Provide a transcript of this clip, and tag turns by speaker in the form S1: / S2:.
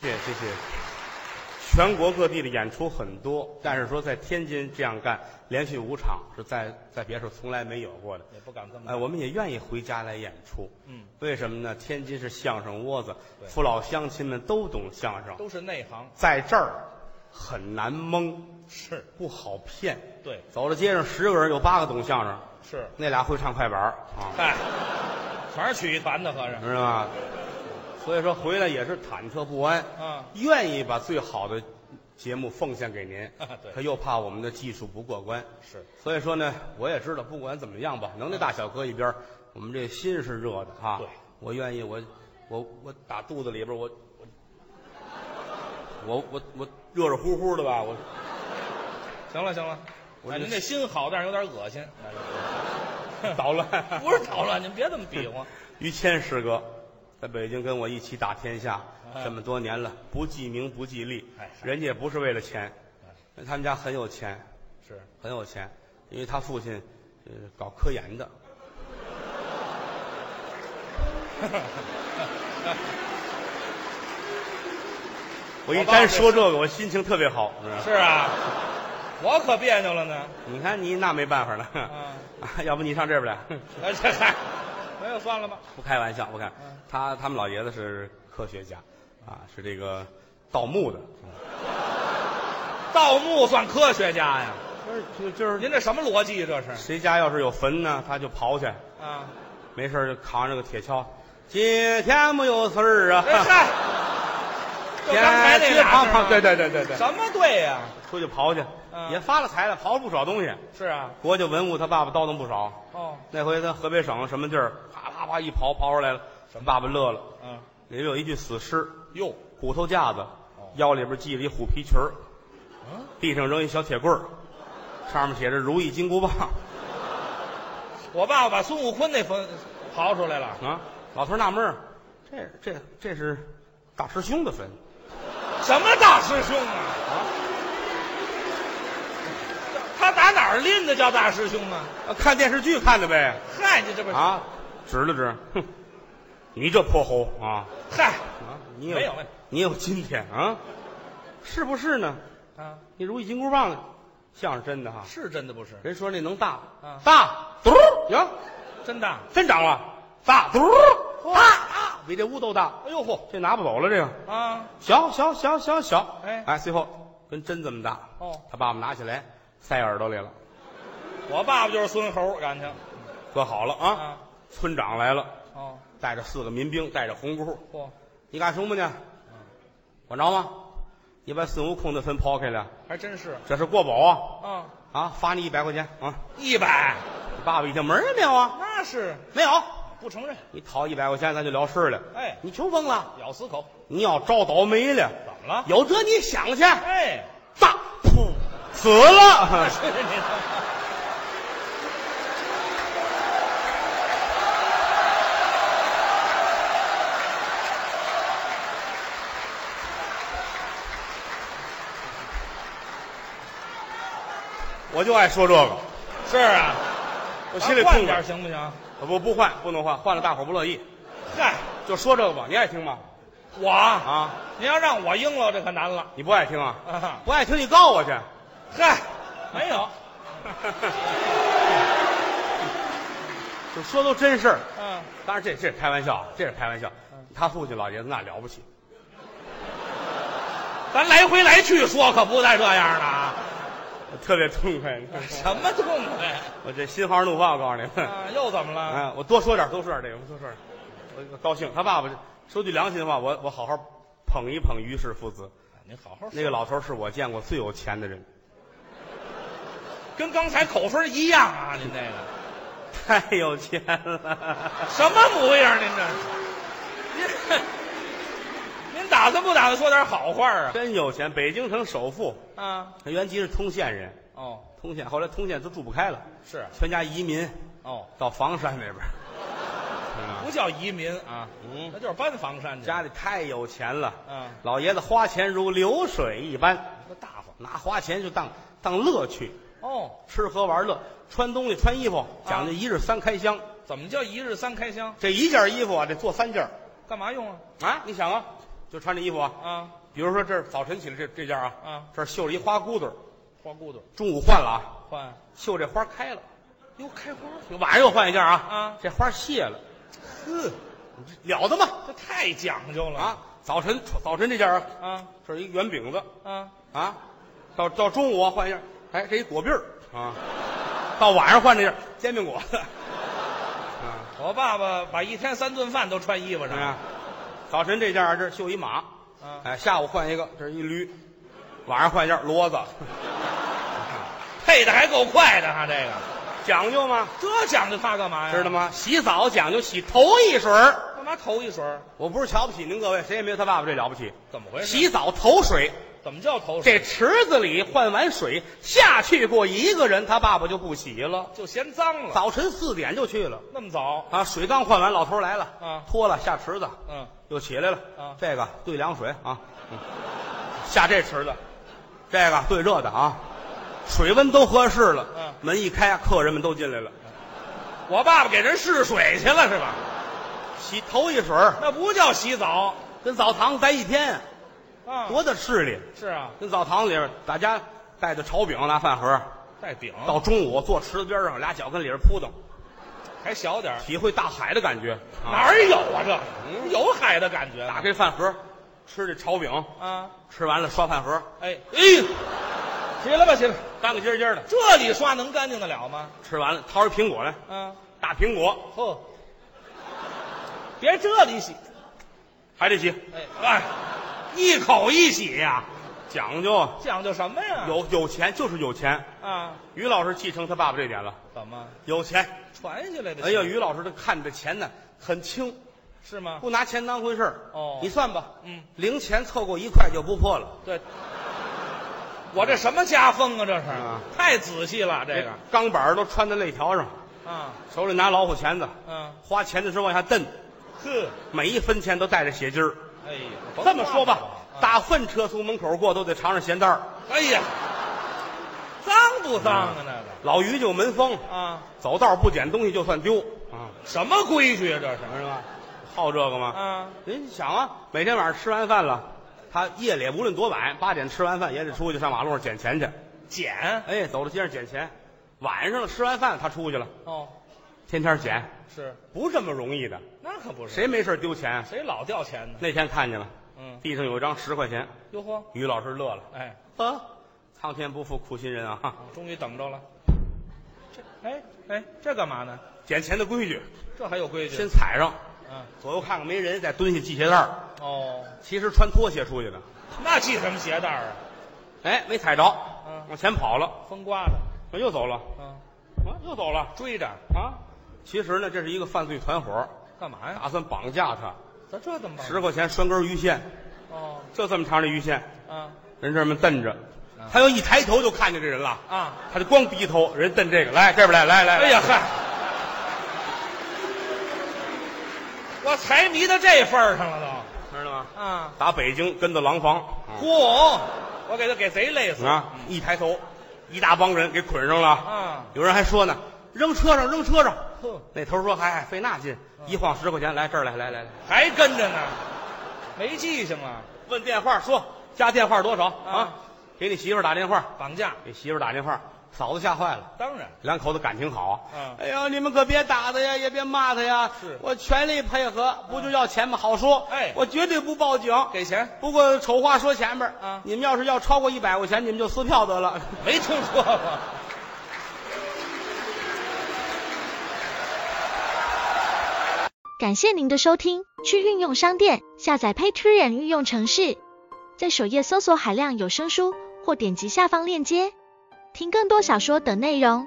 S1: 谢谢谢。全国各地的演出很多，但是说在天津这样干，连续五场是在在别处从来没有过的。
S2: 也不敢这么
S1: 哎，我们也愿意回家来演出。
S2: 嗯，
S1: 为什么呢？天津是相声窝子，
S2: 对
S1: 父老乡亲们都懂相声，
S2: 都是内行，
S1: 在这儿很难蒙，
S2: 是
S1: 不好骗。
S2: 对
S1: 走到街上，十个人有八个懂相声，
S2: 是，
S1: 那俩会唱快板儿啊。
S2: 嗨，全是曲艺团的，合着，
S1: 知道吗？所以说回来也是忐忑不安，
S2: 嗯
S1: 愿意把最好的节目奉献给您，
S2: 啊对
S1: 他又怕我们的技术不过关，
S2: 是
S1: 所以说呢，我也知道，不管怎么样吧，能那大小搁一边儿，我们这心是热的哈。
S2: 对，
S1: 我愿意，我我我打肚子里边儿，我我我我我热热乎乎的吧， 我
S2: 行了行了，
S1: 我
S2: 哎，
S1: 这
S2: 您这心好，但是有点恶 心，
S1: 捣乱。
S2: 不是捣乱，您别这么比划，
S1: 于谦师哥，在北京跟我一起打天下
S2: 哎
S1: 这么多年了，不记名不记利
S2: 哎，是
S1: 人家也不是为了钱，
S2: 哎
S1: 他们家很有钱，
S2: 是
S1: 很有钱，因为他父亲呃搞科研的， 我一
S2: 爸爸
S1: 沾说这个，我心情特别好。
S2: 是啊，我可别扭了呢，
S1: 你看你那没办法了，
S2: 啊，
S1: 要不你上这边来？
S2: 哎这嗨，没有算了吧，
S1: 不开玩笑，不开
S2: 嗯。
S1: 他他们老爷子是科学家，啊，是这个盗墓的。
S2: 盗墓算科学家呀？
S1: 就就是
S2: 您这什么逻辑啊？这是
S1: 谁家要是有坟呢，他就刨去，
S2: 啊？
S1: 没事儿就扛着个铁锹。今天没有事儿啊，
S2: 哎嗨，就刚才那
S1: 天
S2: 俩
S1: 胖
S2: 是
S1: 胖，
S2: 吗
S1: 哎对对对对对，
S2: 什么对呀？
S1: 出去刨去，
S2: 嗯
S1: 也发了财了，刨了不少东西。
S2: 是啊，
S1: 国家文物他爸爸叨叨不少，
S2: 哦，
S1: 那回他河北省什么地儿，啪啪啪一刨刨出来了，爸爸乐了，
S2: 嗯，
S1: 里边有一具死尸，
S2: 哟，
S1: 骨头架子，
S2: 哦
S1: 腰里边系了一虎皮裙儿，
S2: 嗯，
S1: 地上扔一小铁棍儿，上面写着“如意金箍棒
S2: 我爸爸把孙悟空那坟刨出来”了，
S1: 啊。老头儿纳闷儿，这这这是大师兄的坟。
S2: 什么大师兄啊？
S1: 啊，
S2: 他打哪儿拎的叫大师兄啊？
S1: 呃看电视剧看的呗。
S2: 嗨，你这不是
S1: 啊，指了指，哼，你这泼猴啊
S2: 嗨
S1: 啊，你
S2: 没有没有
S1: 你有今天啊，是不是呢？
S2: 啊？
S1: 你如意金箍棒呢，像是真的哈。
S2: 是真的不是？
S1: 人说那能大
S2: 啊
S1: 大嘟儿呀，
S2: 真的？啊
S1: 真长了，大嘟儿大大，比这屋都大，
S2: 哎呦嚯
S1: 这拿不走了这个。
S2: 啊！
S1: 小小小小小，
S2: 哎
S1: 哎，最后跟针这么大。
S2: 哦
S1: 他爸爸拿起来塞耳朵里了，
S2: 我爸爸就是孙猴，感情
S1: 搁好了啊。
S2: 啊？
S1: 村长来了，
S2: 哦，
S1: 带着四个民兵，带着红箍，
S2: 嚯，
S1: 你干什么呢？
S2: 嗯
S1: 管着吗？你把孙悟空的坟刨开了，
S2: 还真是
S1: 这是国宝
S2: 啊！
S1: 啊！啊，罚你一百块钱啊！
S2: 一百，
S1: 你爸爸一听门儿也没有啊，
S2: 那是
S1: 没有。
S2: 不承认，
S1: 你讨一百块钱，咱就了事儿了。
S2: 哎
S1: 你穷疯了！
S2: 咬死口，
S1: 你要招倒霉了，
S2: 怎么了？
S1: 有这你想去？
S2: 哎，
S1: 大噗，死
S2: 那
S1: 了！
S2: 是你的。
S1: 我就爱说这个，
S2: 是啊，
S1: 我心里
S2: 咱换
S1: 痛快
S2: 点儿。行不行？
S1: 不不换，不能换，换了大伙儿不乐意。
S2: 嗨，
S1: 就说这个吧，你爱听吗？
S2: 我啊，
S1: 啊，
S2: 您要让我应了，这可难了
S1: 你不爱听啊？
S2: 啊！
S1: 不爱听你告我去。
S2: 嗨，没有，
S1: 就说都真事儿。
S2: 嗯，
S1: 当然这这是开玩笑，啊这是开玩笑
S2: 嗯。
S1: 他父亲老爷子那了不起，
S2: 咱来回来去说，可不带这样 的啊！
S1: 我特别痛快。 你看
S2: 什么痛 快
S1: 我这心花怒放，我告诉你们，
S2: 啊？又怎么了？
S1: 哎，我多说点，多说点这个，多说点，我我高兴。他爸爸说句良心话，我我好好捧一捧于氏父子。
S2: 您好好说，
S1: 那个老头儿是我见过最有钱的人，
S2: 跟刚才口分一样啊！您这个
S1: 太有钱了。
S2: 什么模样？您这， 您您打算不打算说点好话啊？
S1: 真有钱，北京城首富，
S2: 啊，
S1: 他原籍是通县人，
S2: 哦，
S1: 通县后来通县都住不开了，
S2: 是
S1: 全家移民
S2: 哦，
S1: 到房山那边儿。
S2: 不叫移民啊，
S1: 嗯
S2: 那就是搬房山去。
S1: 家里太有钱了，
S2: 嗯
S1: 老爷子花钱如流水一般，
S2: 那大方
S1: 拿花钱就当当乐趣，
S2: 哦，
S1: 吃喝玩乐，穿东西穿衣服讲究一日三开箱，
S2: 怎么叫一日三开箱？
S1: 这一件衣服啊得做三件儿
S2: 干嘛用啊？
S1: 啊！你想啊，就穿这衣服啊。
S2: 啊
S1: 比如说这儿早晨起来这这件啊，
S2: 啊，
S1: 这儿绣了一花骨朵儿，
S2: 花骨朵
S1: 中午换了啊，
S2: 换，
S1: 绣这花开了，
S2: 哟，开花，
S1: 晚上又换一件啊，
S2: 啊
S1: 这花谢了，
S2: 呵，
S1: 你这了得吗？
S2: 这太讲究了
S1: 啊，早晨早晨这件啊，
S2: 啊
S1: 这是一圆饼子
S2: 啊！
S1: 啊，到到中午啊换一件，哎，这一果篦儿啊，到晚上换这件煎饼果子， 啊，
S2: 我爸爸把一天三顿饭都穿衣服
S1: 怎
S2: 上
S1: 么样？早晨这件啊这儿绣一马，
S2: 啊
S1: 哎，下午换一个，这是一驴，晚上换一件骡子，
S2: 配的还够快的哈，这个
S1: 讲究吗？
S2: 这讲究他干嘛呀？
S1: 知道？吗？洗澡讲究洗头一水儿。
S2: 干嘛头一水儿？
S1: 我不是瞧不起您各位，谁也没有他爸爸这了不起。
S2: 怎么回事？
S1: 洗澡头水，
S2: 怎么叫头水？
S1: 这池子里换完水下去过一个人，他爸爸就不洗了。
S2: 就嫌脏了，
S1: 早晨四点就去了
S2: 那么早？
S1: 啊，水刚换完，老头来了
S2: 啊
S1: 脱了下池子，
S2: 嗯，
S1: 又起来了
S2: 啊
S1: 这个兑凉水啊，嗯下这池子，这个兑热的啊，水温都合适了。
S2: 嗯
S1: 门一开，客人们都进来了，
S2: 我爸爸给人试水去了是吧？
S1: 洗头一水儿
S2: 那不叫洗澡
S1: 跟澡堂待一天，
S2: 啊！
S1: 多大势力！
S2: 是啊，
S1: 跟澡堂里边，大家带着炒饼拿饭盒，
S2: 带饼
S1: 到中午坐池子边上，俩脚跟里边扑腾，
S2: 还小点儿，
S1: 体会大海的感觉。
S2: 哪
S1: 啊、
S2: 儿有啊这？
S1: 嗯
S2: 有海的感觉
S1: 打开饭盒，吃这炒饼，
S2: 啊！
S1: 吃完了刷饭盒，
S2: 哎哎，起来吧，起来！
S1: 干干净净的。
S2: 这里刷能干净得了吗？
S1: 吃完了掏一苹果来，
S2: 啊，
S1: 大苹果
S2: 呵，别这里洗，
S1: 还得洗，
S2: 哎哎，一口一洗呀、
S1: 讲究。啊
S2: 讲究什么呀？
S1: 有有钱就是有钱。
S2: 啊？
S1: 于老师继承他爸爸这点了，
S2: 怎么
S1: 有钱。
S2: 传下来的？
S1: 哎呀，于老师他看这钱呢很轻，
S2: 是吗？
S1: 不拿钱当回事儿。
S2: 哦
S1: 你算吧，
S2: 嗯，
S1: 零钱凑够一块就不破了。
S2: 对，我这什么家风啊？这是、
S1: 啊哎
S2: 太仔细了，这个
S1: 钢板儿都穿在肋条上，
S2: 啊，
S1: 手里拿老虎钳子，
S2: 嗯，
S1: 花钱的时候往下蹬，
S2: 呵，
S1: 每一分钱都带着血筋儿。
S2: 哎呀，
S1: 这么说吧，
S2: 大，
S1: 大粪车从门口过都得尝尝咸淡儿。
S2: 啊哎呀，脏不脏啊？
S1: 嗯
S2: 那个
S1: 老于就门风，
S2: 啊，
S1: 走道不捡东西就算丢啊，
S2: 什么规矩啊？这是
S1: 是吧？好这个吗？
S2: 啊，
S1: 您想啊，每天晚上吃完饭了，他夜里无论多晚，八点吃完饭也得出去上马路上捡钱去。
S2: 捡
S1: 哎，走到街上捡钱，晚上了吃完饭他出去了，
S2: 哦，
S1: 天天捡，
S2: 是
S1: 不这么容易的。
S2: 那可不是，
S1: 谁没事丢钱？啊
S2: 谁老掉钱呢？
S1: 那天看见了，
S2: 嗯，
S1: 地上有一张十块钱，
S2: 哟呵，
S1: 于老师乐了。
S2: 哎，
S1: 啊，苍天不负苦心人啊！哈
S2: 终于等着了。这哎哎，这干嘛呢？
S1: 捡钱的规矩，
S2: 这还有规矩？
S1: 先踩上，
S2: 嗯，
S1: 左右看看没人，再蹲下系鞋带儿。
S2: 哦，
S1: 其实穿拖鞋出去的，
S2: 那系什么鞋带儿啊？
S1: 哎，没踩着，
S2: 嗯
S1: 往前跑了，哎
S2: 风刮的，
S1: 又走了，
S2: 嗯，
S1: 啊，又走了
S2: 追着，
S1: 啊！其实呢，这是一个犯罪团伙，
S2: 干嘛呀？
S1: 打算绑架他，
S2: 咱这怎么办？
S1: 十块钱拴根鱼线，
S2: 哦，
S1: 就这么长的鱼线，
S2: 啊
S1: 人这么瞪着
S2: 啊，
S1: 他要一抬头就看见这人了，
S2: 啊！
S1: 他就光低头，人瞪这个，来这边来，来来，
S2: 哎呀，嗨，我财迷到这份儿上了
S1: 知道吗？
S2: 都啊！
S1: 打北京跟到廊坊，啊
S2: 嚯，我给他给贼累死了
S1: 啊，一抬头，一大帮人给捆上了。
S2: 啊！
S1: 有人还说呢，扔车上，扔车上。
S2: 哼，
S1: 那头说，嗨，费那劲，
S2: 啊
S1: 一晃十块钱，来这儿来，来来来，
S2: 还跟着呢，没记性啊了，
S1: 问电话说加电话多少啊
S2: 啊？
S1: 给你媳妇儿打电话，
S2: 绑架，
S1: 给媳妇儿打电话，嫂子吓坏了。
S2: 当然
S1: 两口子感情好，
S2: 嗯
S1: 哎呦，你们可别打他呀，也别骂他呀，
S2: 是啊
S1: 我全力配合，不就要钱吗？好说，
S2: 哎
S1: 我绝对不报警。
S2: 给钱，
S1: 不过丑话说前边儿
S2: 啊
S1: 你们要是要超过一百块钱，你们就撕票得了。
S2: 没听说过。
S3: 感谢您的收听，去运用商店下载 Patreon 运用城市，在首页搜索海量有声书，或点击下方链接听更多小说等内容。